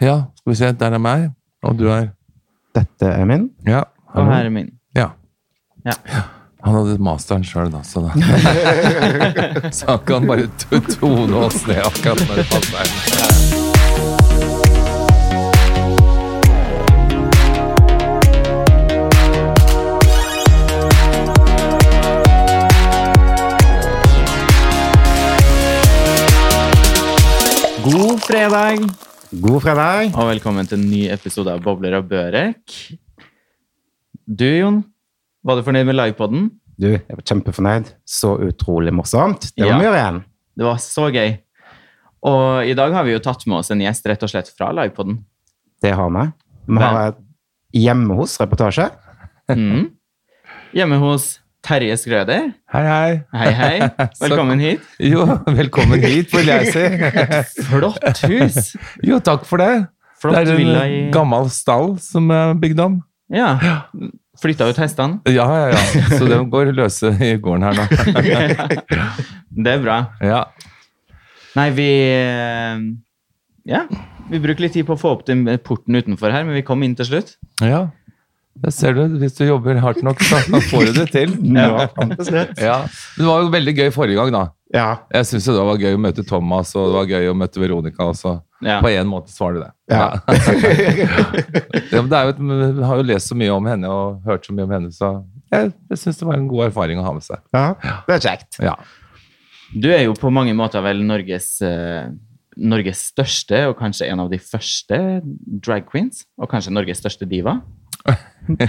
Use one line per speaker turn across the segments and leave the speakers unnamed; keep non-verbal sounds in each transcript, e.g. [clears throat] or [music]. Ja, skal vi se. Der er meg, og du er
Dette er min.
Ja.
Og her
hallo.
er min.
ja.
Ja.
Han hadde masteren sjøl, da, så da [laughs] Så han kan bare to- tone oss ned akkurat når det passer.
God fredag!
God fredag.
Og velkommen til en ny episode av Bobler og Børek. Du, Jon, var du fornøyd med livepodden?
Du, jeg var kjempefornøyd. Så utrolig morsomt. Det må
Ja.
vi gjøre igjen.
Det var så gøy. Og i dag har vi jo tatt med oss en gjest rett og slett fra livepodden.
Det har vi. Vi har et hjemme hos-reportasje.
Mm. Hjemme hos Terje Skrøder.
Hei, hei.
Hei, hei. Velkommen hit.
Jo, velkommen hit, vil jeg [laughs] si.
Flott hus!
Jo, takk for det. Det
Flott
er
villa i
en gammel stall som er bygd om.
Ja. Flytta ut hestene.
Ja, ja, ja. Så den går løse i gården her nå.
Det er bra.
Ja.
Nei, vi eh, Ja. Vi bruker litt tid på å få opp den porten utenfor her, men vi kom inn til slutt.
ja. Det ser du. Hvis du jobber hardt nok, så får du det til.
Nå kom det slutt.
Ja. Det var jo veldig gøy forrige gang, da.
Ja.
Jeg syns det var gøy å møte Thomas, og det var gøy å møte Veronica også.
Ja.
På én måte så var det det.
Ja.
Ja, [laughs] men det er jo, et- jeg har jo lest så mye om henne og hørt så mye om henne, så jeg, jeg syns det var en god erfaring å ha med seg.
ja. Det er
[laughs]
kjekt.
Ja.
Du er jo på mange måter vel Norges, eh, Norges største, og kanskje en av de første drag queens. Og kanskje Norges største diva.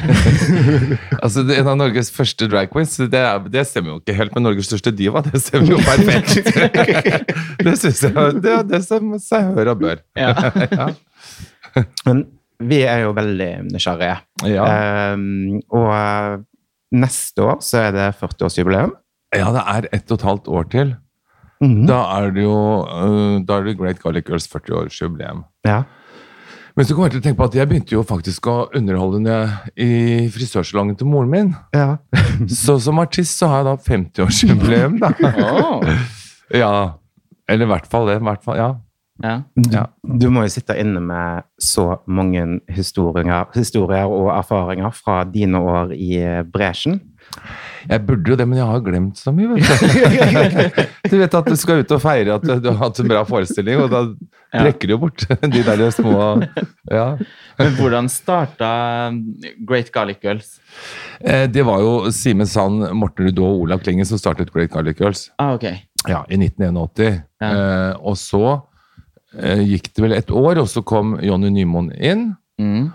Altså, det, en av Norges første drag queens, det, er, det stemmer jo ikke helt med Norges største diva. Det stemmer jo
[laughs]
perfekt. det syns jeg Det, det stemmer seg hør og bør.
Ja.
Ja.
Men vi er jo veldig nysgjerrige.
Ja.
Ehm, og eh, neste år så er det 40-årsjubileum.
ja, det er ett og et halvt år til.
Mhm.
Da er det jo øh, da er det Great Garlic Girls 40-årsjubileum.
Ja.
Men så kommer jeg til å tenke på at jeg begynte jo faktisk å underholde når jeg, i frisørsalongen til moren min.
ja.
Så som artist så har jeg da 50-årsjubileum,
[laughs]
da.
[laughs] Åh.
Ja. Eller i hvert fall det. i Hvert fall, ja.
Ja.
Ja.
Du må jo sitte inne med så mange historier, historier og erfaringer fra dine år i bresjen.
Jeg burde jo det, men jeg har glemt så mye. Vet du. du vet at du skal ut og feire at du har hatt en bra forestilling, og da
Ja.
trekker du jo bort [laughs] de der små ja.
Men hvordan starta Great Garlic Girls?
Eh, Det var jo Simen Sand, Morten Rudå og Olav Klinge som startet Great Garlic Girls
Ah, ok.
ja, i 1981.
Ja.
Eh, Og så eh, gikk det vel et år, og så kom Jonny Nymoen inn.
Mm.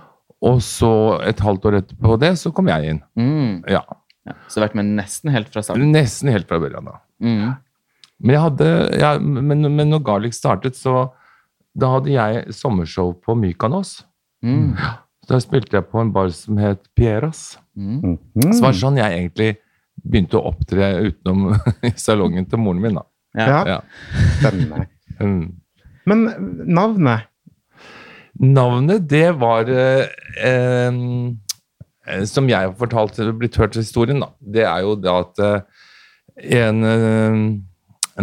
Og så et halvt år etterpå det, så kom jeg inn.
Mm.
Ja,
Ja. Så vært med nesten helt fra starten.
Nesten helt fra børjan da.
Mm.
Men, jeg hadde, ja, men, men når Garlic startet, så da hadde jeg sommershow på Mykonos.
Mm.
Da spilte jeg på en bar som het Pieras.
Mm.
Mhm.
Så det var sånn jeg egentlig begynte å opptre utenom [laughs] i salongen til moren min. da.
Ja.
Ja,
Ja.
spennende.
Mm.
Men navnet
Navnet, det var eh, em, eh, Som jeg har fortalt, eller blitt hørt historien, da. Det er jo det at eh, en, eh,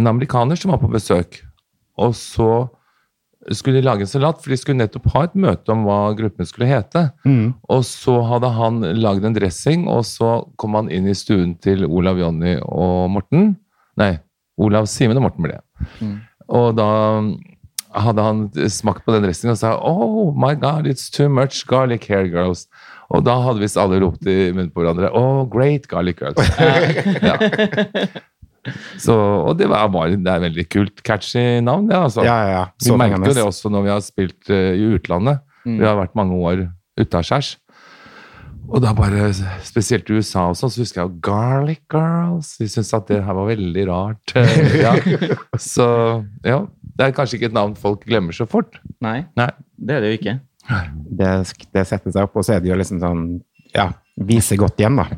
en amerikaner som var på besøk, og så skulle de lage en salat, for de skulle nettopp ha et møte om hva gruppen skulle hete.
Mhm.
Og så hadde han lagd en dressing, og så kom han inn i stuen til Olav Jonny og Morten. Nei, Olav Simen og Morten ble det.
Mm.
Og da hadde han smakt på den dressingen og sa Oh my God, it's too much garlic hair girls. Og da hadde visst alle ropt i munnen på hverandre Oh, great garlic girls. ja. så, og det var bare det er veldig kult, catchy navn, det, altså.
Ja, ja, ja.
Vi merker jo
fengende.
det også når vi har spilt eh, i utlandet.
Mm.
Vi har vært mange år utaskjærs. Og da bare, spesielt i USA og sånn, så husker jeg jo Garlic Girls. De syntes at det her var veldig rart. Eh, Ja. Så ja, det er kanskje ikke et navn folk glemmer så fort.
Nei,
Nei.
det er det jo ikke.
det, det setter seg opp, og så er det jo liksom sånn ja, vise godt hjem, da.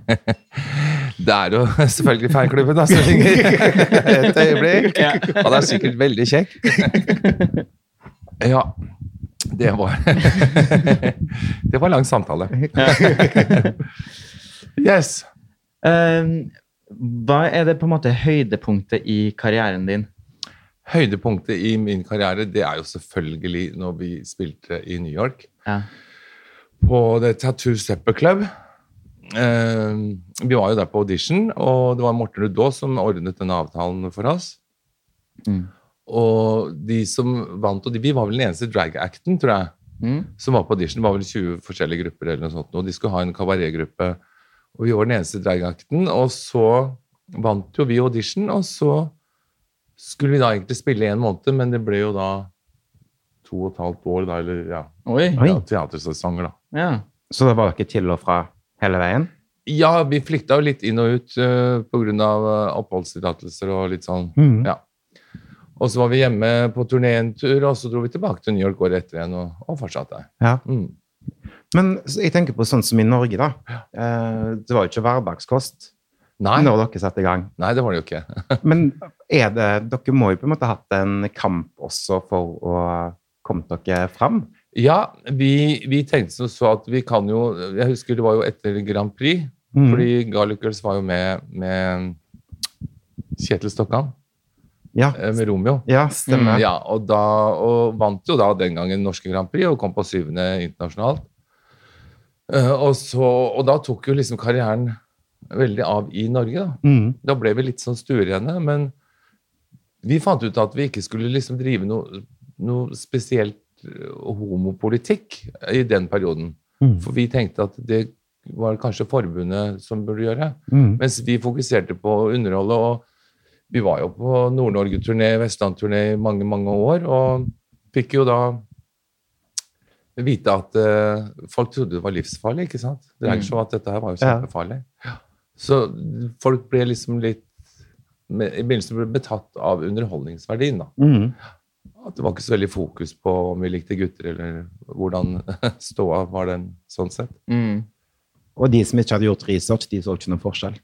Det er jo [laughs] selvfølgelig fanklubben da, som ringer [laughs] et øyeblikk.
Ja.
Han er sikkert veldig kjekk. Ja, det var [laughs] Det var lang samtale. [laughs] Yes.
Um, Eh, hva er det på en måte høydepunktet i karrieren din?
Høydepunktet i min karriere det er jo selvfølgelig når vi spilte i New York.
Ja.
På The Tattoo Supper Club. Eh, vi var jo der på audition, og det var Morten Rudaa som ordnet den avtalen for oss.
Mm.
Og de som vant, og de, vi var vel den eneste drag-acten, tror jeg
Mm.
som var på audition. Det var vel 20 forskjellige grupper, eller noe sånt, og de skulle ha en kabaretgruppe. Og vi var den eneste dragakten, og så vant jo vi audition, og så skulle vi da egentlig spille i en måned, men det ble jo da to og et halvt år, da, eller ja,
Oi.
Oi.
ja teatersesonger, da.
Ja.
Så da var dere til og fra hele veien?
Ja, vi flykta jo litt inn og ut eh, på grunn av eh, oppholdstillatelser og litt sånn.
Mm.
Ja. Og så var vi hjemme på turné en tur, og så dro vi tilbake til New York året etter igjen og, og fortsatte.
Ja.
Mm.
Men så jeg tenker på sånn som i Norge, da. Eh, Det var jo ikke hverdagskost
Nei,
når dere satte i gang.
nei, det var det jo ikke.
Men er det, dere må jo på en måte ha hatt en kamp også for å komme dere fram?
Ja, vi, vi tenkte som så at vi kan jo Jeg husker det var jo etter Grand Prix,
Mm.
fordi Garlicers var jo med med Kjetil Stokkan,
Ja,
eh, med Romeo.
ja stemmer.
Mm, Ja, og, da, og vant jo da den gangen norske Grand Prix og kom på syvende internasjonalt. Eh, Og, så, og da tok jo liksom karrieren veldig av i Norge, da.
Mm.
Da ble vi litt sånn stuerene, men vi fant ut at vi ikke skulle liksom drive noe, noe spesielt eh, homopolitikk i den perioden.
Mm.
For vi tenkte at det var kanskje forbundet som burde gjøre.
Mm.
Mens vi fokuserte på å underholde, og vi var jo på Nord-Norge-turné, Vestland-turné i mange, mange år, og fikk jo da vite at eh, folk trodde det var livsfarlig, ikke sant? Det er ikke sånn at dette her var jo
Ja.
kjempefarlig. Så folk ble liksom litt med- I begynnelsen ble betatt av underholdningsverdien, da.
Mm.
At det var ikke så veldig fokus på om vi likte gutter, eller hvordan [laughs] ståa var den sånn sett.
Mm.
Og de som ikke hadde gjort research, de så ikke noen forskjell.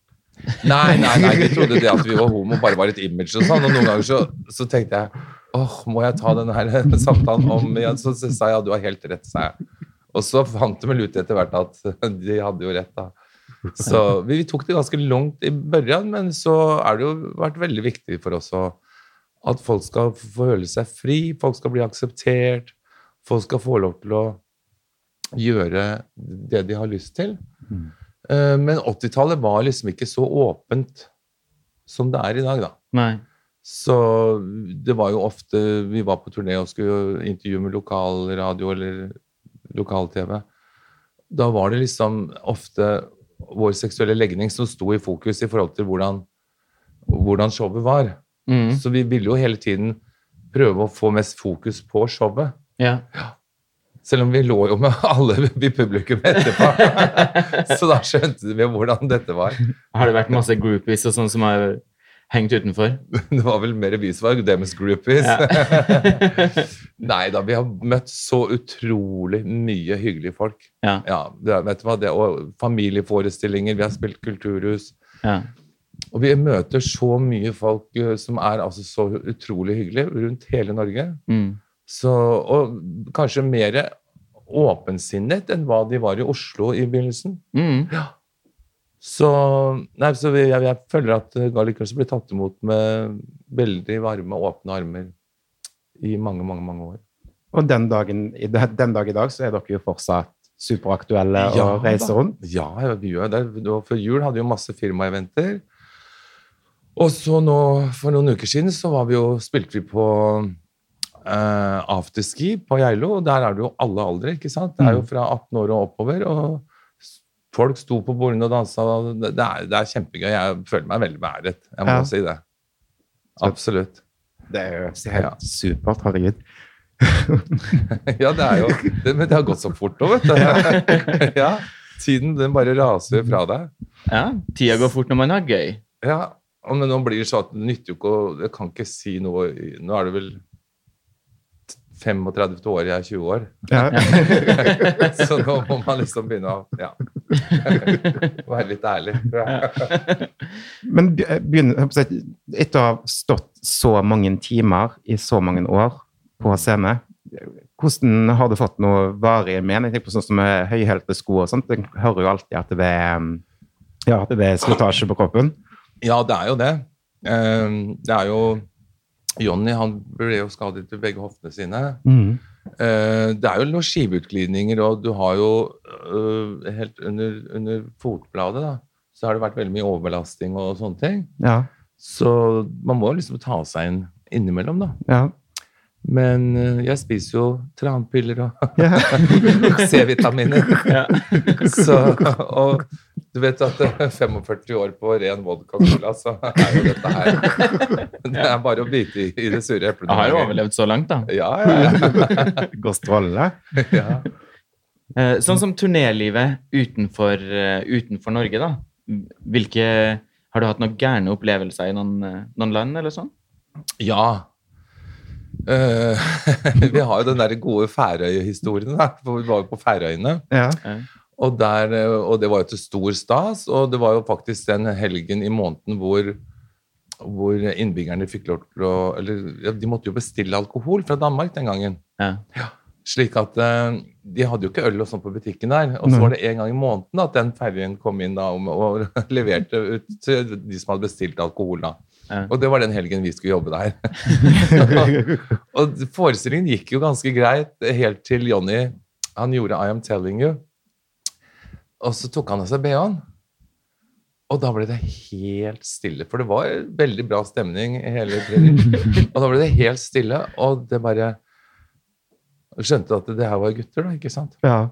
Nei, nei, nei, de trodde det at vi var homo bare var et image og sånn, og noen ganger så, så tenkte jeg, åh, må jeg ta den her [laughs] samtalen om igjen? Så sa jeg, ja, du har helt rett, sa jeg. Og så fant de vel ut etter hvert at [laughs] de hadde jo rett da. Så vi, vi tok det ganske langt i børjan, men så er det jo vært veldig viktig for oss å, at folk skal få føle seg fri, folk skal bli akseptert, folk skal få lov til å gjøre det de har lyst til. Eh, Men 80-tallet var liksom ikke så åpent som det er i dag, da.
Nei.
Så det var jo ofte Vi var på turné og skulle intervjue med lokalradio eller lokal-TV. Da var det liksom ofte vår seksuelle legning som sto i fokus i forhold til hvordan, hvordan showet var.
Mm.
Så vi ville jo hele tiden prøve å få mest fokus på showet.
Ja.
Selv om vi lå jo med alle [laughs] i publikum etterpå. Så da skjønte vi hvordan dette var.
Har det vært masse groupies og sånn som har hengt utenfor?
Det var vel mer vi som var Demis groupies. [laughs] Nei da, vi har møtt så utrolig mye hyggelige folk.
Ja.
Ja, det, er- vet du hva, det, og familieforestillinger, vi har spilt kulturhus.
Ja.
Og vi møter så mye folk eh, som er altså så utrolig hyggelige rundt hele Norge.
Mm.
Så, og kanskje mer åpensinnet enn hva de var i Oslo i begynnelsen.
Mm.
Så, nei, så jeg, jeg føler at Garlicus blir tatt imot med veldig varme, åpne armer i mange, mange mange år.
Og den, dagen, i dag- den dag i dag så er dere jo fortsatt superaktuelle og reiser
da.
rundt.
Ja, ja, vi gjør det. Og Før jul hadde vi jo masse firmaeventer. Og så nå, for noen uker siden, så var vi jo, spilte vi på eh, afterski på Geilo. Og der er det jo alle aldre, ikke sant? Det er jo fra 18 år og oppover. Og s- folk sto på bordene og dansa. og Det det er, det er kjempegøy. Jeg føler meg veldig beæret. Jeg må
Ja.
si det. Absolutt.
Det er jo
Ja.
helt supert, herregud.
[laughs] Ja, det er jo det, Men det har gått så fort nå, vet du. [laughs] Ja. Tiden den bare raser fra deg.
ja. Tida går fort når man har gøy.
Ja, og men nå blir det sånn at det nytter jo ikke å Jeg kan ikke si noe i- Nå er det vel 35 år, jeg er 20 år. [laughs]
Ja.
Så nå må man liksom begynne å ja. [laughs] være litt ærlig, tror jeg.
Men be- begynn- jeg holdt på å si, etter å ha stått så mange timer i så mange år på scene, hvordan har du fått noe varig men? Jeg tenker på sånn som eh, høyhælte sko og sånt. Jeg hører jo alltid at det er, mm, ja, at det er slitasje på kroppen.
Ja, det er jo det. Ehm, Det er jo Jonny han ble jo skadet i begge hoftene sine.
Mm.
Eh, det er jo noen skiveutglidninger, og du har jo eh, helt under, under fotbladet da, så har det vært veldig mye overbelasting og sånne ting.
Ja.
Så man må liksom ta seg inn innimellom, da.
ja.
Men eh, jeg spiser jo tranpiller og
ja.
[laughs] C-vitaminer.
Ja.
Så, og du vet at [laughs] eh, 45 år på ren vodka cola, så er jo dette her [laughs] Det er bare å bite i, i det sure eplet.
Jeg har jo overlevd så langt, da.
Ja, ja, ja.
Går strålende.
ja.
Eh, Sånn som turnélivet utenfor, eh, utenfor Norge, da. Hvilke, har du hatt noen gærne opplevelser i noen, eh, noen land, eller sånn?
Ja. Eh, [laughs] vi har jo den der gode Færøy-historien, da, for vi var jo på Færøyene.
Ja.
Eh,
Og, der, eh, og det var jo til stor stas, og det var jo faktisk den helgen i måneden hvor, hvor innbyggerne fikk lov til å Eller ja, de måtte jo bestille alkohol fra Danmark den gangen.
Ja.
Slik at eh, De hadde jo ikke øl og sånn på butikken der. Og så
Nei.
var det en gang i måneden at den ferjen kom inn da, og, og [laughs] leverte ut til de som hadde bestilt alkohol. da.
Ja.
Og det var den helgen vi skulle jobbe
[laughs]
der. [laughs] og forestillingen gikk jo ganske greit eh, helt til Jonny han gjorde I Am Telling You. Og så tok han av seg BH-en. Og da ble det helt stille, for det var veldig bra stemning i hele tiden. Og da ble det helt stille, og det bare skjønte at det her var gutter, da, ikke sant?
ja.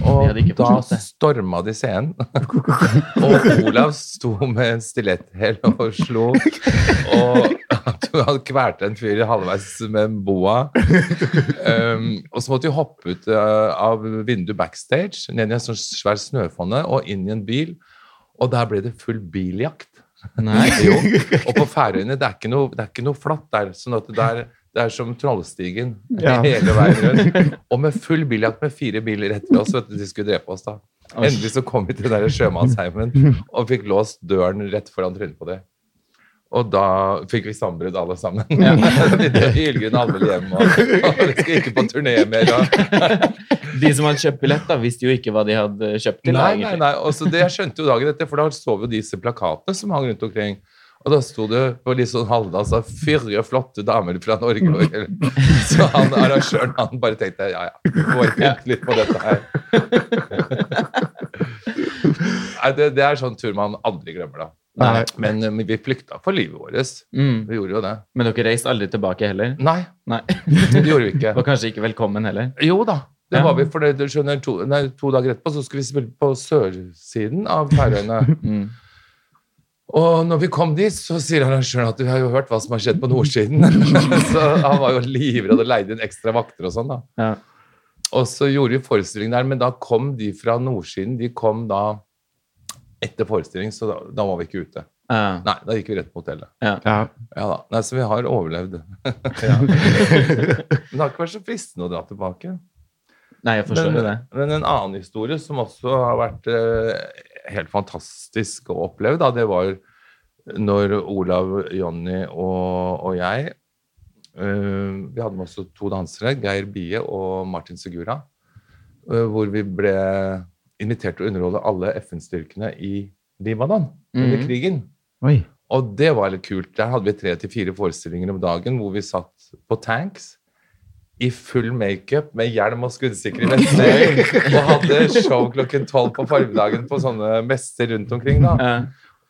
Og
hadde ikke
da
forstått det.
storma de scenen. [laughs] og Olav sto med en stiletthæl og slo. Og han kvalte en fyr halvveis med en boa. Um, og så måtte de hoppe ut uh, av vinduet backstage, ned i en sånn svær snøfonne og inn i en bil. Og der ble det full biljakt.
Nei.
Jo. Og på Færøyene det er ikke noe, det er ikke noe flatt der. sånn at det er, det er som Trollstigen
Ja.
[laughs] hele veien rundt. Og med full biljakt med fire biler etter oss. Vet du, de skulle drepe oss da.
Oi.
Endelig så kom vi til den der sjømannsheimen og fikk låst døren rett foran trynet på dem. Og da fikk vi sambrudd alle sammen. [laughs] Vi drev i ildgrunn alle hjem, og, og vi skulle ikke på turné mer. Og,
De som hadde kjøpt billett, da, visste jo ikke hva de hadde kjøpt til. da,
nei, nei,
egentlig.
nei. Og så det jeg skjønte jo dagen etter, for da så vi jo disse plakatene som hang rundt omkring. Og da sto det på litt sånn halvdans av fyrre flotte damer fra Norge. og- Så han arrangøren han bare tenkte ja, ja, vi får vente litt på dette her. Nei, det, det er sånn tur man aldri glemmer, da.
Nei.
Men eh, men vi flykta for livet vårt.
Mm.
Vi gjorde jo det.
Men dere reiste aldri tilbake heller?
Nei,
Nei.
det gjorde vi
[laughs] Var
ikke.
kanskje ikke velkommen heller?
Jo da. Det
Ja.
var vi, for det, du skjønner, to, nei, to dager etterpå så skulle vi spille på sørsiden av Færøyene.
Mm.
Og når vi kom dit, så sier arrangøren at vi har jo hørt hva som har skjedd på nordsiden. [laughs] så han var jo livredd og leide inn ekstra vakter og sånn, da.
Ja.
Og så gjorde vi forestilling der, men da kom de fra nordsiden. De kom da etter forestilling, så da, da var vi ikke ute.
Ja.
Nei, da gikk vi rett på hotellet.
ja.
Ja da. Nei, så vi har overlevd. [laughs] ja. Men det har ikke vært så fristende å dra tilbake.
Nei, jeg forstår jo
men,
det.
men en annen historie som også har vært eh, helt fantastisk å oppleve, da, det var når Olav, Jonny og, og jeg eh, Vi hadde med oss to dansere, Geir Bie og Martin Segura, eh, hvor vi ble invitert til å underholde alle FN-styrkene i Libanon under
Mhm.
krigen.
Oi.
Og det var litt kult. Der hadde vi tre til fire forestillinger om dagen hvor vi satt på tanks i full makeup med hjelm og skuddsikre vester og hadde show klokken tolv på formiddagen på sånne messer rundt omkring. da.
Ja.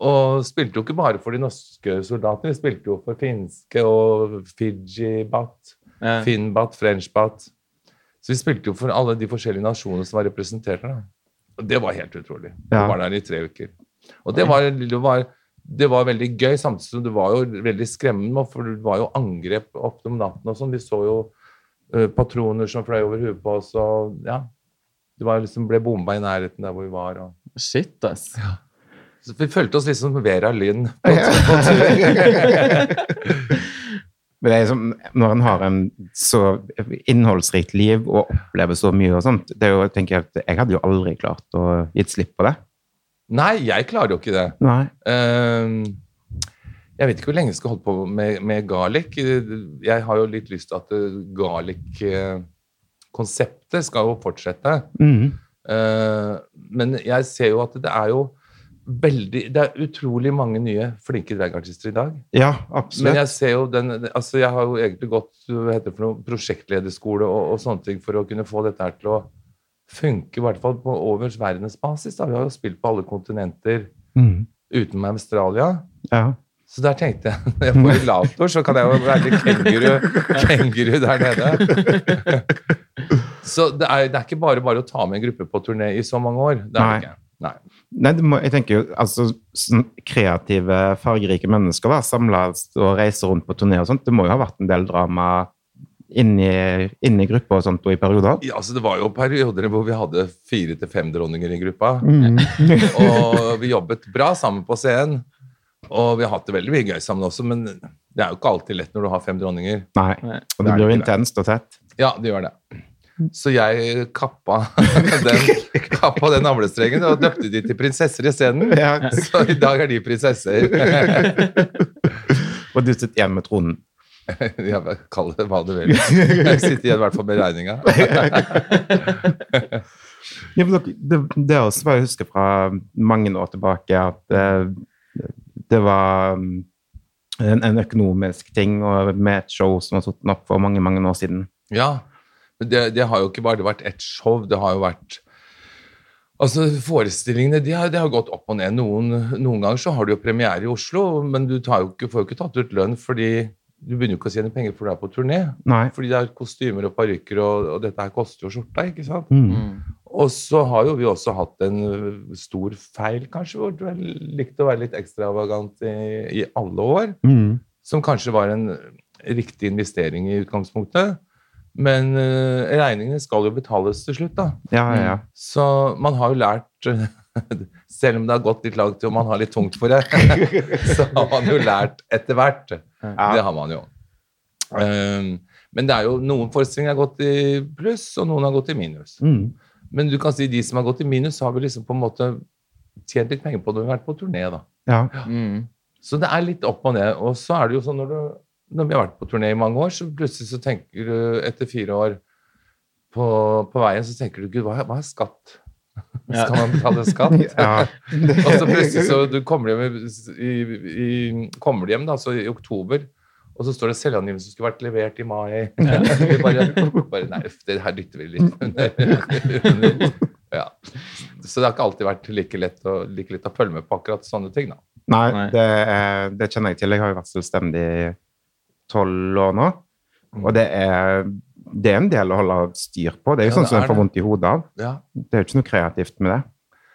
Og spilte jo ikke bare for de norske soldatene, vi spilte jo for finske og Fiji-batt,
Ja.
Finn-batt, French-batt. Så vi spilte jo for alle de forskjellige nasjonene som var representert her. da. Og det var helt utrolig.
Ja.
Vi var der i tre uker. Og det var, det var, det var veldig gøy, samtidig som det var jo veldig skremmende, for det var jo angrep opp om natten og sånn. Vi så jo eh, patroner som fløy over huet på oss, og ja. Det var liksom, ble bomba i nærheten der hvor vi var. Og.
Shit, ass.
Så vi følte oss litt som Vera Lynn.
[laughs] Men det er liksom, når en har en så innholdsrikt liv og opplever så mye og sånt det er jo, tenker Jeg at jeg hadde jo aldri klart å gitt slipp på det.
Nei, jeg klarer jo ikke det.
Nei.
Ehm, jeg vet ikke hvor lenge jeg skal holde på med, med garlic. Jeg har jo litt lyst til at eh, garlic-konseptet skal jo fortsette. Ehm,
Mhm.
Eh, men jeg ser jo at det er jo veldig Det er utrolig mange nye flinke dragartister i dag.
Ja,
Men
absolutt.
jeg ser jo den Altså, jeg har jo egentlig gått hva heter det for noe, prosjektlederskole og, og sånne ting for å kunne få dette her til å funke, i hvert fall på over verdensbasis. da. Vi har jo spilt på alle kontinenter
Mm,
utenom Australia.
ja.
Så der tenkte jeg [laughs] når jeg får rullator, så kan jeg jo være litt kenguru, kenguru der nede. Så det er, det er ikke bare bare å ta med en gruppe på turné i så mange år. Det er det
Nei.
ikke. Nei.
Nei, det må, jeg tenker jo, altså sånn kreative, fargerike mennesker da, samles og reiser rundt på turné og sånt. Det må jo ha vært en del drama inni, inni gruppa og sånt og i perioder.
Ja, altså, det var jo perioder hvor vi hadde fire til fem dronninger i gruppa.
Mm.
Og vi jobbet bra sammen på scenen. Og vi har hatt det veldig mye gøy sammen også, men det er jo ikke alltid lett når du har fem dronninger.
[laughs] Nei,
Nei.
og det blir jo intenst og tett.
Ja, det gjør det. Så jeg kappa [laughs] den, kappa den navlestrengen og døpte de til prinsesser isteden.
Ja. [laughs]
Så i dag er de prinsesser. [laughs]
Og du sitter igjen med [laughs] tronen.
Jeg Kall det hva du vil. Jeg sitter igjen i hvert fall med regninga.
Ja, men dere- det, det er også hva jeg husker fra mange år tilbake, at eh, det var mm, en, en økonomisk ting og med et show som var satt opp for mange, mange år siden.
Ja. Men det, det har jo ikke bare vært ett show, det har jo vært Altså, Forestillingene de har, de har gått opp og ned. Noen, noen ganger så har du jo premiere i Oslo, men du tar jo ikke, får jo ikke tatt ut lønn fordi du begynner jo ikke å tjene penger for du er på turné.
Nei.
Fordi det er kostymer og parykker, og, og dette her koster jo skjorta, ikke sant?
Mm.
Mm.
Og så har jo vi også hatt en ø, stor feil, kanskje, hvor du har likt å være litt ekstravagant i, i alle år.
Mm.
Som kanskje var en riktig investering i utgangspunktet. Men ø, regningene skal jo betales til slutt, da.
Ja, ja, [laughs] ja.
Så man har jo lært [laughs] ø, Selv om det har gått litt langt og man har litt tungt for det, [laughs] så har man jo lært etter hvert. Det har man jo. Ehm, Men det er jo noen forestillinger har gått i pluss, og noen har gått i minus.
Mm.
Men du kan si de som har gått i minus, har vel liksom på en måte tjent litt penger på det når vi har vært på turné. da.
Ja.
Mm.
Så det er litt opp og ned. Og så er det jo sånn når, du, når vi har vært på turné i mange år, så plutselig så tenker du etter fire år på, på veien, så tenker du gud, hva, er- hva er skatt? [laughs]
Ja.
Skal man betale
[laughs]
skatt?
Ja.
[laughs] Og så plutselig så du kommer hjem, i- i, i, kommer hjem da, så i oktober, og så står det selvangivelse som skulle vært levert i mai. [laughs] Vi bare, bare Nei, uff, det her dytter vi litt under. [laughs] ja. Så det har ikke alltid vært like lett, å, like lett å følge med på akkurat sånne ting. da.
Nei,
Nei.
det, er- det kjenner jeg til. Jeg har jo vært selvstendig i tolv år nå. Og det er, det er en del å holde styr på. Det er jo
Ja,
sånn
det
som en
er
får
det.
vondt i hodet av.
Ja.
Det er jo ikke noe kreativt med det.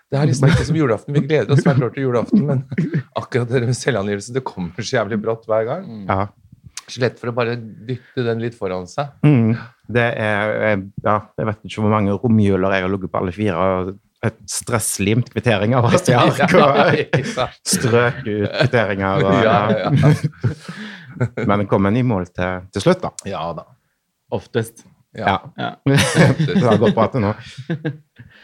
Det er liksom ikke som julaften. Vi gleder oss hvert år til julaften, men [laughs] akkurat det med selvangivelsen det kommer så jævlig brått hver gang.
Mm.
Ja.
Så lett for å bare dytte den litt foran seg.
Mm. Det er, ja, jeg vet ikke hvor mange romhjuler jeg har ligget på alle fire, og et stresslimt kvittering av [laughs] hvert
[laughs]
ark, og
ikke sant?
strøk ut kvitteringer. [laughs] Og,
ja, ja, ja.
Men kom en i mål til, til slutt, da.
ja da.
Oftest.
Ja.
Ja.
Det har gått bra til nå.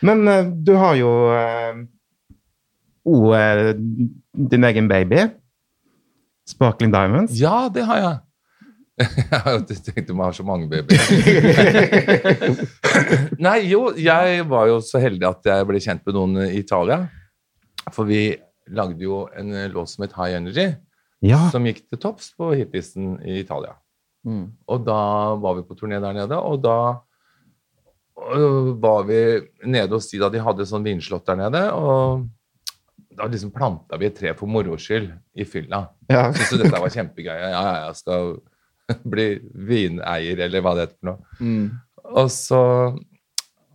Men eh, du har jo eh, o- eh, din egen baby, Sparkling Diamonds.
[laughs] Ja, det har [laughs] jeg. Jeg har jo tenkt om jeg har så mange babyer. [laughs] Nei, jo, jeg var jo så heldig at jeg ble kjent med noen i Italia. For vi lagde jo en låt som het High Energy,
Ja.
som gikk til topps på hitlisten i Italia.
Mm.
Og da var vi på turné der nede, og da øh, var vi nede hos de da de hadde sånn vinslott der nede, og da liksom planta vi et tre for moro skyld i fylla.
ja.
Synes du dette var kjempegøy? Ja, ja, ja, jeg skal [laughs] bli vineier, eller hva det heter for noe.
Mm.
Og så,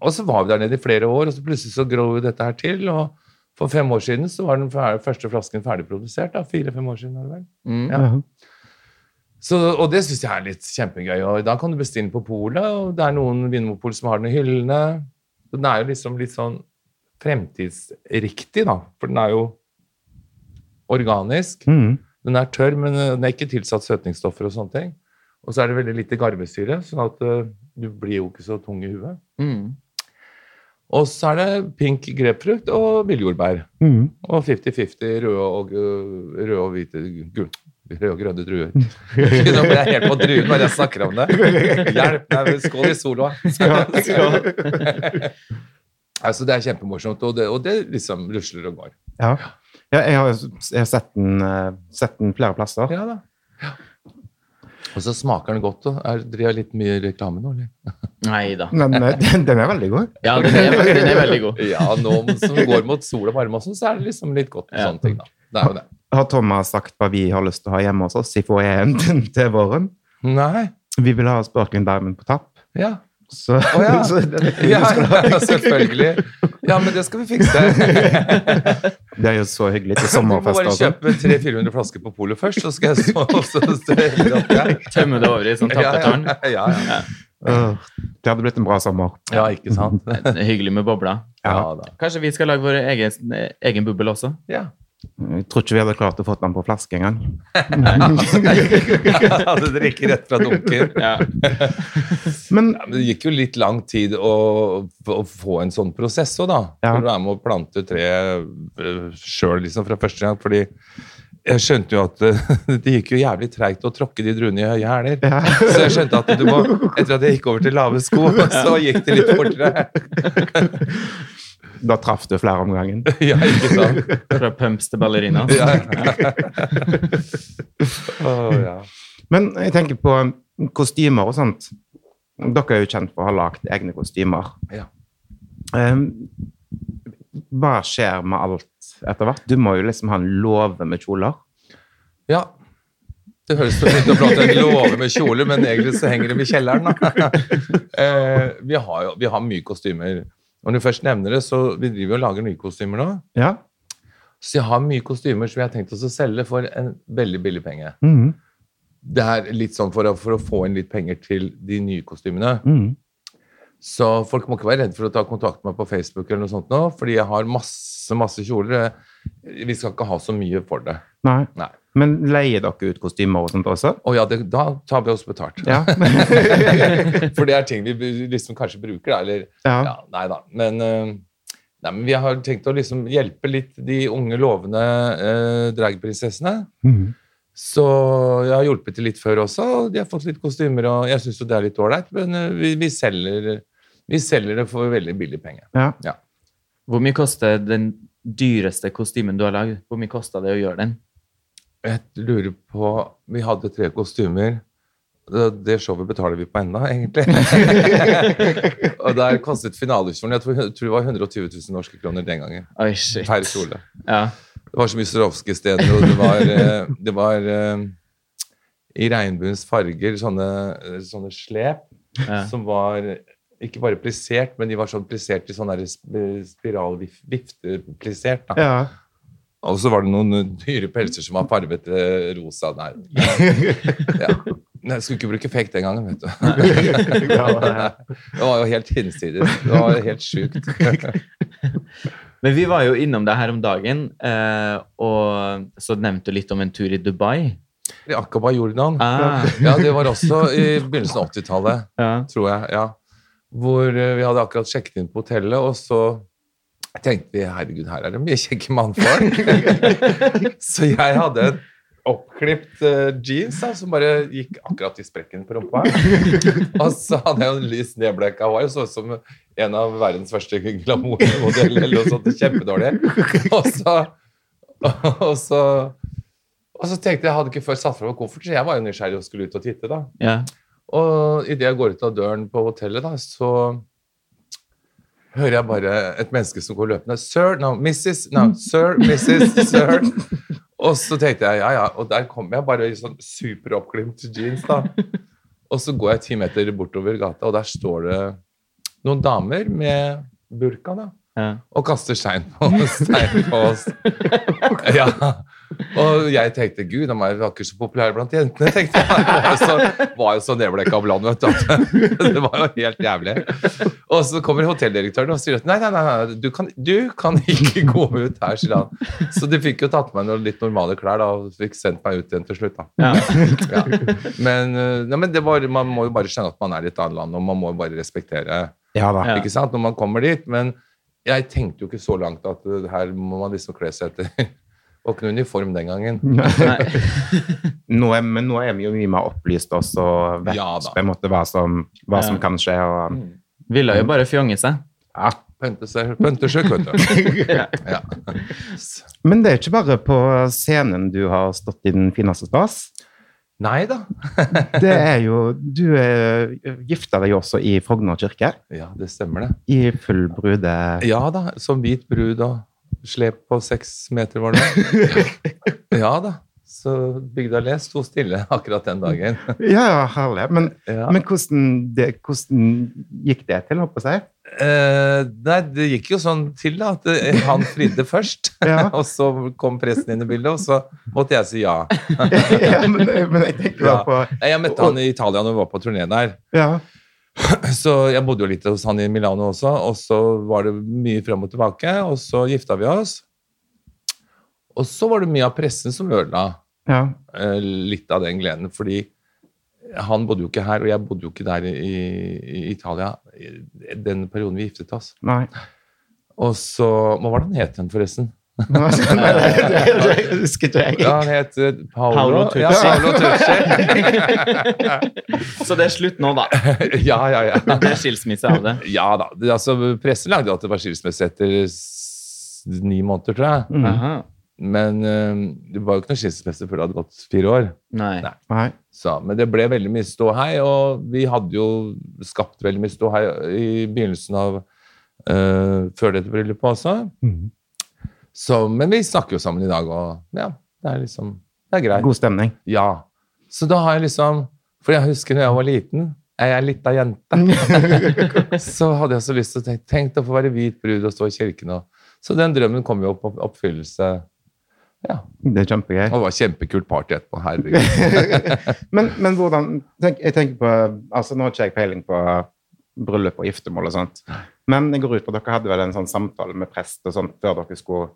og så var vi der nede i flere år, og så plutselig så gror jo dette her til. Og for fem år siden så var den fer- første flasken ferdigprodusert. da, Fire-fem år siden. var det vel.
Mm.
Ja.
Så, og det syns jeg er litt kjempegøy. Og da kan du bestille den på polet, og det er noen vinmonopol som har den i hyllene. Så den er jo liksom litt sånn fremtidsriktig, da. For den er jo organisk.
Mm.
Den er tørr, men eh, den er ikke tilsatt søtningsstoffer og sånne ting. Og så er det veldig lite garvesyre, sånn at eh, du blir jo ikke så tung i huet.
Mm.
Og så er det pink grepfrukt og villjordbær.
[laughs] Mm.
Og 50-50 røde og, eh, røde og hvite gul, Røde og grønne druer. Nå
[laughs]
ble jeg helt på druen når jeg snakker om det. Hjelp! Nei, men skål i sola.
Skål.
[laughs] Altså, det er kjempemorsomt, og det, og det liksom rusler og går.
Ja. Ja, jeg har, jeg har sett, den, eh, sett den flere plasser.
Ja da. Og så smaker den godt. og Er, driver jeg litt mye reklame nå, eller?
Nei da.
Men eh, [laughs] den, den er veldig god.
Ja, den er, den er veldig god.
Ja, nå [laughs] som går mot sol og varme også, så er det liksom litt godt med
Ja.
sånne ting, da. Det er jo det.
Har Thomas sagt hva vi har lyst til å ha hjemme hos oss i foajeen [laughs] til- til våren?
Nei.
Vi vil ha Sparkling Diamond på tapp.
Ja.
Så,
Å, ja.
[laughs] så det, det,
Ja, [laughs] selvfølgelig. Ja, men det skal vi [laughs] fikse.
det er jo så hyggelig
[laughs]
til
Du må
sommerfest.
bare
Altså.
kjøpe 300-400 flasker på polet først, så skal jeg så, [laughs] så stelle opp der. [laughs]
Tømme det over i sånn
Ja,
tappetårn.
ja, ja, ja.
Åh, Det hadde blitt en bra sommer.
ja, ikke sant?
Det er Hyggelig med bobla.
Ja
Ja.
da. [laughs]
Kanskje vi skal lage vår egen, egen boble også?
Ja.
Jeg tror ikke vi hadde klart å få den på flaske engang.
Du drikker rett fra dunken.
Ja.
Men
Ja, men det gikk jo litt lang tid å, å få en sånn prosess òg, da.
Ja.
For du er med å plante tre sjøl liksom, fra første gang. Fordi jeg skjønte jo at eh, [laughs] det gikk jo jævlig treigt å tråkke de druene i høye hæler.
Ja. [laughs]
Så jeg skjønte at du må Etter at jeg gikk over til lave sko, [laughs] så gikk det litt fortere. [laughs]
da traff du flere om gangen.
Ja, ikke sant?
Fra pumps til ballerina.
Ja. [laughs] Å, ja.
Men jeg tenker på um, kostymer og sånt. Dere er jo kjent for å ha lagd egne kostymer.
Ja.
Ehm, hva skjer med alt etter hvert? Du må jo liksom ha en låve med kjoler.
ja. Det høres så fint og flott ut. Jeg lover med kjoler, men egentlig så henger de i kjelleren. Da. [laughs] Eh, vi, har jo, vi har mye kostymer. Og når du først nevner det, så vi driver og lager nye kostymer nå.
Ja.
Så jeg har mye kostymer som jeg har tenkt oss å selge for en veldig billig penge.
Mhm.
Det er litt sånn for å, for å få inn litt penger til de nye kostymene.
Mhm.
Så folk må ikke være redde for å ta kontakt med meg på Facebook, eller noe sånt nå, fordi jeg har masse masse kjoler. Vi skal ikke ha så mye for det.
Nei.
Nei.
Men leier dere ut kostymer og sånt også?
Å ja, det, da tar vi oss betalt.
Ja. [laughs]
[laughs] For det er ting vi bu- liksom kanskje bruker, da. Eller
ja.
ja, nei da. Men, eh, nei, men vi har tenkt å liksom hjelpe litt de unge, lovende eh, dragprinsessene.
Mhm.
Så jeg har hjulpet til litt før også, og de har fått litt kostymer, og jeg syns jo det er litt ålreit, men eh, vi, vi, selger, vi selger det for veldig billig penge.
ja.
Hvor mye koster den dyreste kostymen du har lagd? Hvor mye kosta det å gjøre den?
Jeg lurer på Vi hadde tre kostymer. Det det showet betaler vi på ennå, [laughs] egentlig. og der kostet finalekjolen Jeg tror jeg tror det var 120 000 norske kroner den gangen.
Oi, shit.
Per kjole.
Ja.
Det var så mye Swarovski-steder, og det var, eh, det var eh, i regnbuens farger sånne, sånne slep
Ja.
som var ikke bare plissert, men de var sånn plissert i sånn der sp- spiralvifte-plissert. da.
ja.
Og så var det noen eh, dyre pelser som var farvet eh, rosa.
[laughs]
Nei. Ja. Nei, jeg skulle ikke bruke fake den gangen, vet du. [laughs] Det var jo helt hinsides. Det var jo helt
[laughs]
sjukt.
Men vi var jo innom det her om dagen, eh, og så nevnte du litt om en tur i Dubai.
I Aqaba, Jordan.
Ah,
Ja, det var også i begynnelsen av 80-tallet,
ja.
tror jeg. ja. Hvor eh, vi hadde akkurat sjekket inn på hotellet, og så tenkte vi herregud, her er det mye kjekke mannfolk. [laughs] så jeg hadde en oppklipt eh, jeans da, som bare gikk akkurat i sprekken på rumpa. [laughs] og så hadde jeg en lys nedblekka hår, så ut som en av verdens første glamourmodeller. eller noe sånt, Kjempedårlig. Og så, og så og så tenkte jeg, jeg hadde ikke før satt fra meg koffert, så jeg var jo nysgjerrig og skulle ut og titte. da.
ja.
Og idet jeg går ut av døren på hotellet, da, så hører jeg bare et menneske som går løpende. Sir, no, Mrs. No, sir, Mrs. Sir. Og så tenkte jeg, ja, ja. Og der kommer jeg bare i sånn superoppklimt jeans, da. Og så går jeg ti meter bortover gata, og der står det noen damer med burka, da
ja.
og kaster stein på, stein på oss. Ja. Og jeg tenkte gud, han var ikke så populær blant jentene. tenkte jeg. Det var jo så, var jo så nedblekka av land, vet du. at [laughs] Det var jo helt jævlig. Og så kommer hotelldirektøren og sier at nei, nei, nei, nei du, kan, du kan ikke gå ut her, sier han. Så de fikk jo tatt meg noen litt normale klær da, og fikk sendt meg ut igjen til slutt. da.
[laughs] Ja.
Ja. Men, eh, nei, men det var, man må jo bare skjønne at man er i et annet land, og man må jo bare respektere
ja da.
Ja.
ikke sant, når man kommer dit. Men jeg tenkte jo ikke så langt at uh, her må man liksom kle seg etter. [laughs] Og ikke noe uniform den gangen.
Nei.
Nå er, men nå er vi jo mye mer opplyst også, og vet
Ja da.
på en måte hva som, hva som
Ja.
kan skje. Og,
Ville jo bare fjonge seg.
ja,
Pønte seg, pønte seg, vet du.
[laughs]
Ja.
Ja.
Men det er ikke bare på scenen du har stått i den fineste stas.
Nei da.
Det er jo Du er gifta deg jo også i Frogner kirke.
Ja, det stemmer det.
I full brude...
Ja da, som hvit brud og slep på seks meter var det.
[laughs]
Ja da. Så bygda le sto stille akkurat den dagen.
Ja, ja, herlig. Men,
Ja.
men hvordan, det, hvordan gikk det til, håper jeg?
Eh, nei, det gikk jo sånn til da, at eh, han fridde først,
[laughs] Ja.
[laughs] og så kom presten inn i bildet, og så måtte jeg si ja.
[laughs] ja, men, men jeg tenker da
Ja.
på
Nei, Jeg møtte han i Italia når vi var på turné der,
Ja.
så jeg bodde jo litt hos han i Milano også, og så var det mye frem og tilbake, og så gifta vi oss. Og så var det mye av pressen som ødela
ja.
eh, litt av den gleden, fordi han bodde jo ikke her, og jeg bodde jo ikke der i, i Italia i den perioden vi giftet oss.
Nei.
Og så, hva var det han het igjen forresten?
Nei, det,
[laughs]
det, det husker ikke jeg.
Ja, han heter Paolo,
Paolo Tucci.
Ja, Paolo Tucci. [laughs]
Så det er slutt nå, da.
ja, ja, ja.
Det er skilsmisse av det.
Ja da. det- Altså, pressen lagde at det var skilsmisse etter s- ni måneder, tror jeg.
Mm.
Aha.
Men eh, det var jo ikke noe skilsmisse før det hadde gått fire år.
Nei.
Nei.
Nei.
Så, men det ble veldig mye ståhei, og vi hadde jo skapt veldig mye ståhei i begynnelsen av eh, før dette bryllupet også.
Mhm.
Så, men vi snakker jo sammen i dag, og ja, det er liksom Det er greit.
God
[laughs]
stemning.
Ja. Så da har jeg liksom For jeg husker når jeg var liten, jeg er litt av jente, så hadde jeg så lyst til å tenke Tenk å få være hvit brud og stå i kirken og Så den drømmen kom jo opp opp- oppfyllelse. Ja.
Det er kjempegøy.
Og det var kjempekult party etterpå. Herregud.
[laughs] men, men hvordan tenk, Jeg tenker på altså Nå har ikke jeg peiling på bryllup og giftermål og sånt, men jeg går ut på at dere hadde vel en sånn samtale med prest og sånt før dere skulle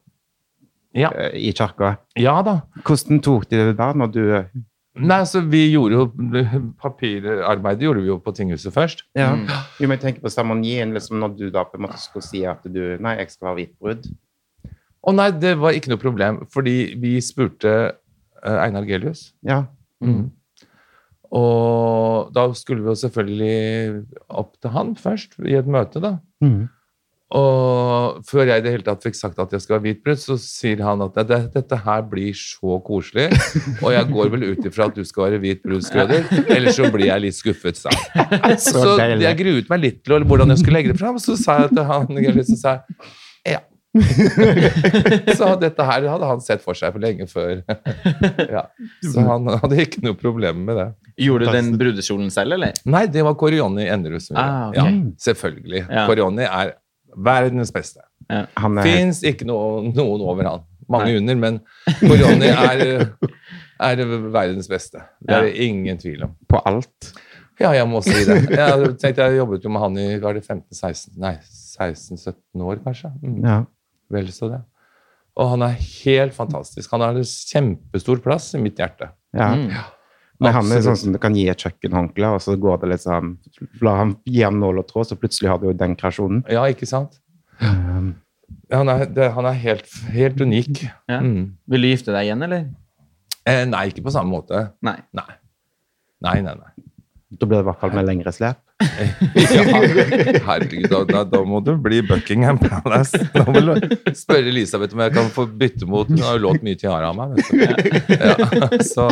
Ja.
eh, i kirka.
Ja da.
Hvordan tok de det da, når du
Nei, altså vi gjorde jo Papirarbeidet gjorde vi jo på tinghuset først.
ja.
Mm.
Jo, men jeg tenker på seremonien, liksom, når du da på en måte skulle si at du Nei, jeg skal være hvit brud.
Å nei, det var ikke noe problem, fordi vi spurte eh, Einar Gelius. Mm.
Ja.
Og da skulle vi jo selvfølgelig opp til han først, i et møte, da.
Mm.
Og før jeg i det hele tatt fikk sagt at jeg skal ha hvit brud, så sier han at det, dette her blir så koselig, og jeg går vel ut ifra at du skal være hvit brud, Skrøder, ellers så blir jeg litt skuffet, sa han.
[laughs] Så,
Så
deilig.
jeg gruet meg litt til hvordan jeg skulle legge det fram. Så sa jeg til han så sa jeg, ja. [laughs] så dette her hadde han sett for seg for lenge før. [laughs] ja. Så han hadde ikke noe problem med det.
Gjorde du den brudekjolen selv, eller?
Nei, det var Korionni Enderud som gjorde
Ah, ok.
det. ja, selvfølgelig.
Ja.
Korionni er verdens beste.
Han er
Fins ikke noe, noen over han. Mange under, men Korionni er, er verdens beste. Det er det ingen tvil om.
på alt.
Ja, jeg må si det. Jeg tenkte jeg jobbet jo med han i var det 15-16, nei, 16-17 år, kanskje. Mm.
Ja.
Vel så det. Og han er helt fantastisk. Han har en kjempestor plass i mitt hjerte.
ja.
Mm.
Men han er sånn
Absolutt.
som du kan gi et kjøkkenhåndkle, og så går det liksom La ham gi ham nål og tråd, så plutselig har du jo den kreasjonen.
Ja, ikke sant?
Ehm,
Han er, det, han er helt, helt unik.
Ja.
Mm.
Vil du gifte deg igjen, eller?
Eh, nei, ikke på samme måte.
Nei.
Nei. Nei, nei, nei.
Da blir det i hvert fall med lengre slep.
Ja, herregud, da, da, da må du bli Buckingham Palace. Da må du spørre Elisabeth om jeg kan få bytte mot Hun har jo lånt mye tiara av meg. Vet du. Ja, så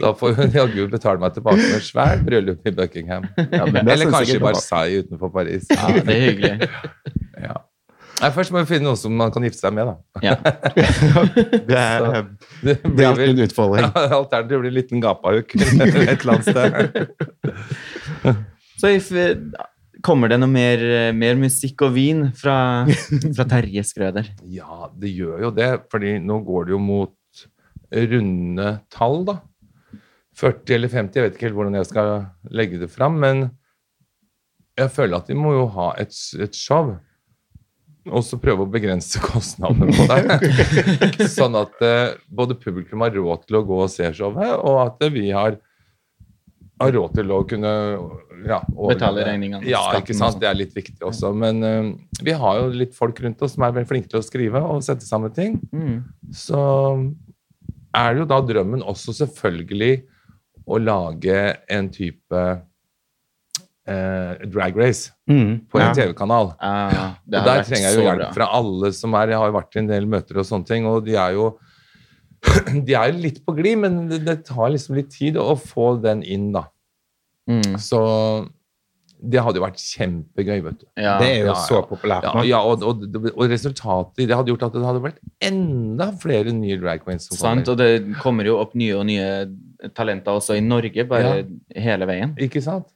da får hun jaggu betale meg tilbake med svært bryllup i Buckingham.
men
Eller
det synes jeg
kanskje
ikke
i
var bra.
Versailles utenfor Paris.
Ja, det er hyggelig.
Ja. Nei, først må vi finne noen som man kan gifte seg med, da.
Ja.
[laughs] Det er, eh,
Det
det er
blir
alltid
vel
en utfordring.
Alternativet blir en liten gapahuk et eller annet sted.
Så if, eh, kommer det noe mer, eh, mer musikk og vin fra, fra Terje Skrøder?
Ja, det gjør jo det, fordi nå går det jo mot runde tall, da. 40 eller 50, jeg vet ikke helt hvordan jeg skal legge det fram, men jeg føler at vi må jo ha et, et show. Og så prøve å begrense [laughs] kostnadene på det. [laughs] sånn at eh, både publikum har råd til å gå og se showet, og at vi har, har råd til å kunne ja, overleve.
Betale regningene,
Ja,
skatten
ikke
og
sant?
sånt.
Det er litt viktig også. Men eh, vi har jo litt folk rundt oss som er veldig flinke til å skrive og sette sammen ting
Mm.
så er det jo da drømmen også selvfølgelig å lage en type eh, Drag Race
Mm.
på en
Ja.
TV-kanal.
Ah, det
Og
hadde
der
vært
trenger jeg jo
så
hjelp
bra.
fra alle som er Jeg har jo vært i en del møter og sånne ting, og de er jo [clears throat] de er jo litt på glid, men det, det tar liksom litt tid å få den inn, da.
Mm.
Så det hadde jo vært kjempegøy, vet du.
Ja.
Det er jo
ja,
så
ja.
populært
Ja,
nå.
ja og, og, og resultatet i det hadde gjort at det hadde vært enda flere nye drag queens som
Sant,
kommer.
og det kommer jo opp nye og nye talenter også i Norge, bare hele veien.
Ikke sant?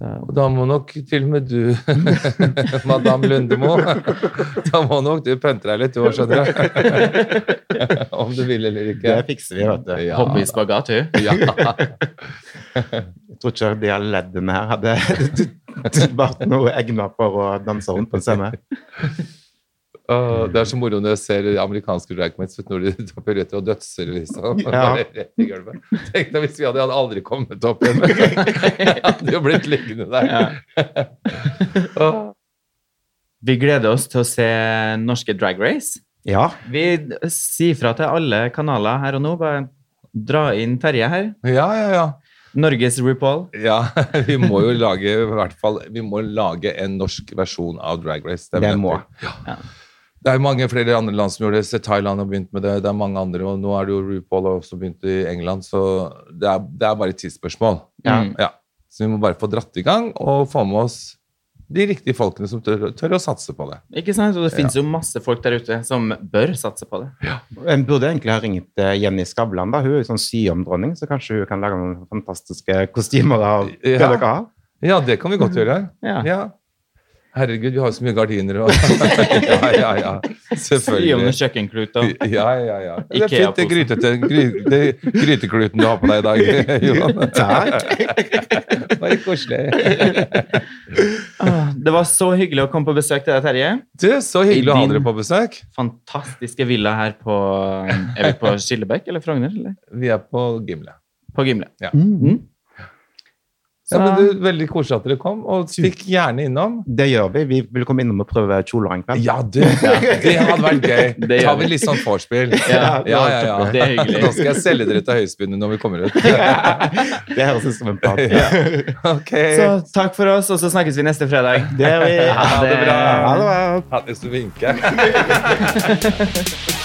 Så.
Og da må nok til og med du, [laughs] madame
[laughs]
Lundemo Da må nok du pønte deg litt, du òg, skjønner du.
[laughs]
Om du vil eller
Det
ikke.
fikser vi, vet du.
Ja.
Hoppe i spagat, hun.
Ja.
Jeg tror ikke de her leddene her [laughs] hadde vært noe egnet for å danse rundt på en scene.
Åh, det er så moro når jeg ser amerikanske drag queens vet du, når de tar piruetter og dødser liksom.
Ja.
Bare rett i gulvet. Tenk deg hvis vi hadde, jeg hadde aldri kommet opp
[laughs]
igjen. [laughs] Jeg hadde jo blitt liggende der.
Ja. Vi gleder oss til å se norske Drag Race.
Ja,
Vi sier fra til alle kanaler her og nå. Bare dra inn Terje her.
Ja, ja, ja.
Norges RuPaul.
ja [laughs] vi må jo lage, i hvert fall, vi må lage en norsk versjon av Drag Race. er vi
Det
nødt
må.
til. Ja. Det er jo mange flere andre land som gjorde det. Se, Thailand har begynt med det. Det er mange andre, og nå er det jo RuPaul har også begynt i England, så det er, det er bare et tidsspørsmål.
Ja.
Ja. Så vi må bare få dratt i gang og få med oss de riktige folkene som tør, tør å satse på det.
Ikke sant? Og det finnes jo masse folk der ute som bør satse på det.
En burde egentlig ha ringt eh, Jenny Skavlan. da. Hun er jo sånn syomdronning, så kanskje hun kan lage noen fantastiske kostymer av det
Ja.
dere har.
Ja, det kan vi godt gjøre.
Ja.
Herregud, vi har jo så mye gardiner og [laughs] Ja, ja, ja.
Gi om noen
Selvfølgelig.
kjøkkenkluter.
Ja, ja, ja. Det er fint, det,
Ikea-posen.
grytete, gry- det grytekluten du har på deg i
[laughs]
dag, Johan.
[laughs] [laughs] Takk.
Bare koselig.
Ah, Det var så hyggelig å komme på besøk til deg, Terje.
[laughs] Du, så hyggelig å ha dere på besøk.
Fantastiske villa her på Er vi på Skillebekk eller Frogner? Eller?
Vi er på Gimle.
På Gimle.
Mm.
Ja, men
Så-
du, Veldig koselig at dere kom, og stikk gjerne innom.
Det gjør vi. Vi vil komme innom og prøve kjoler en kveld.
Ja, du,
[laughs]
det hadde vært gøy.
Det gjør
Tar vi
vi.
litt sånn vorspiel.
Ja,
ja, ja, ja.
Det er hyggelig.
Nå skal jeg selge dere til høyspunnet når vi kommer
[laughs]
ut. [laughs]
Det høres ut som en plan.
Ok.
Så takk for oss, og så snakkes vi neste fredag.
Det gjør vi.
Ha det bra.
Ha det bra.
Ha det som vinker.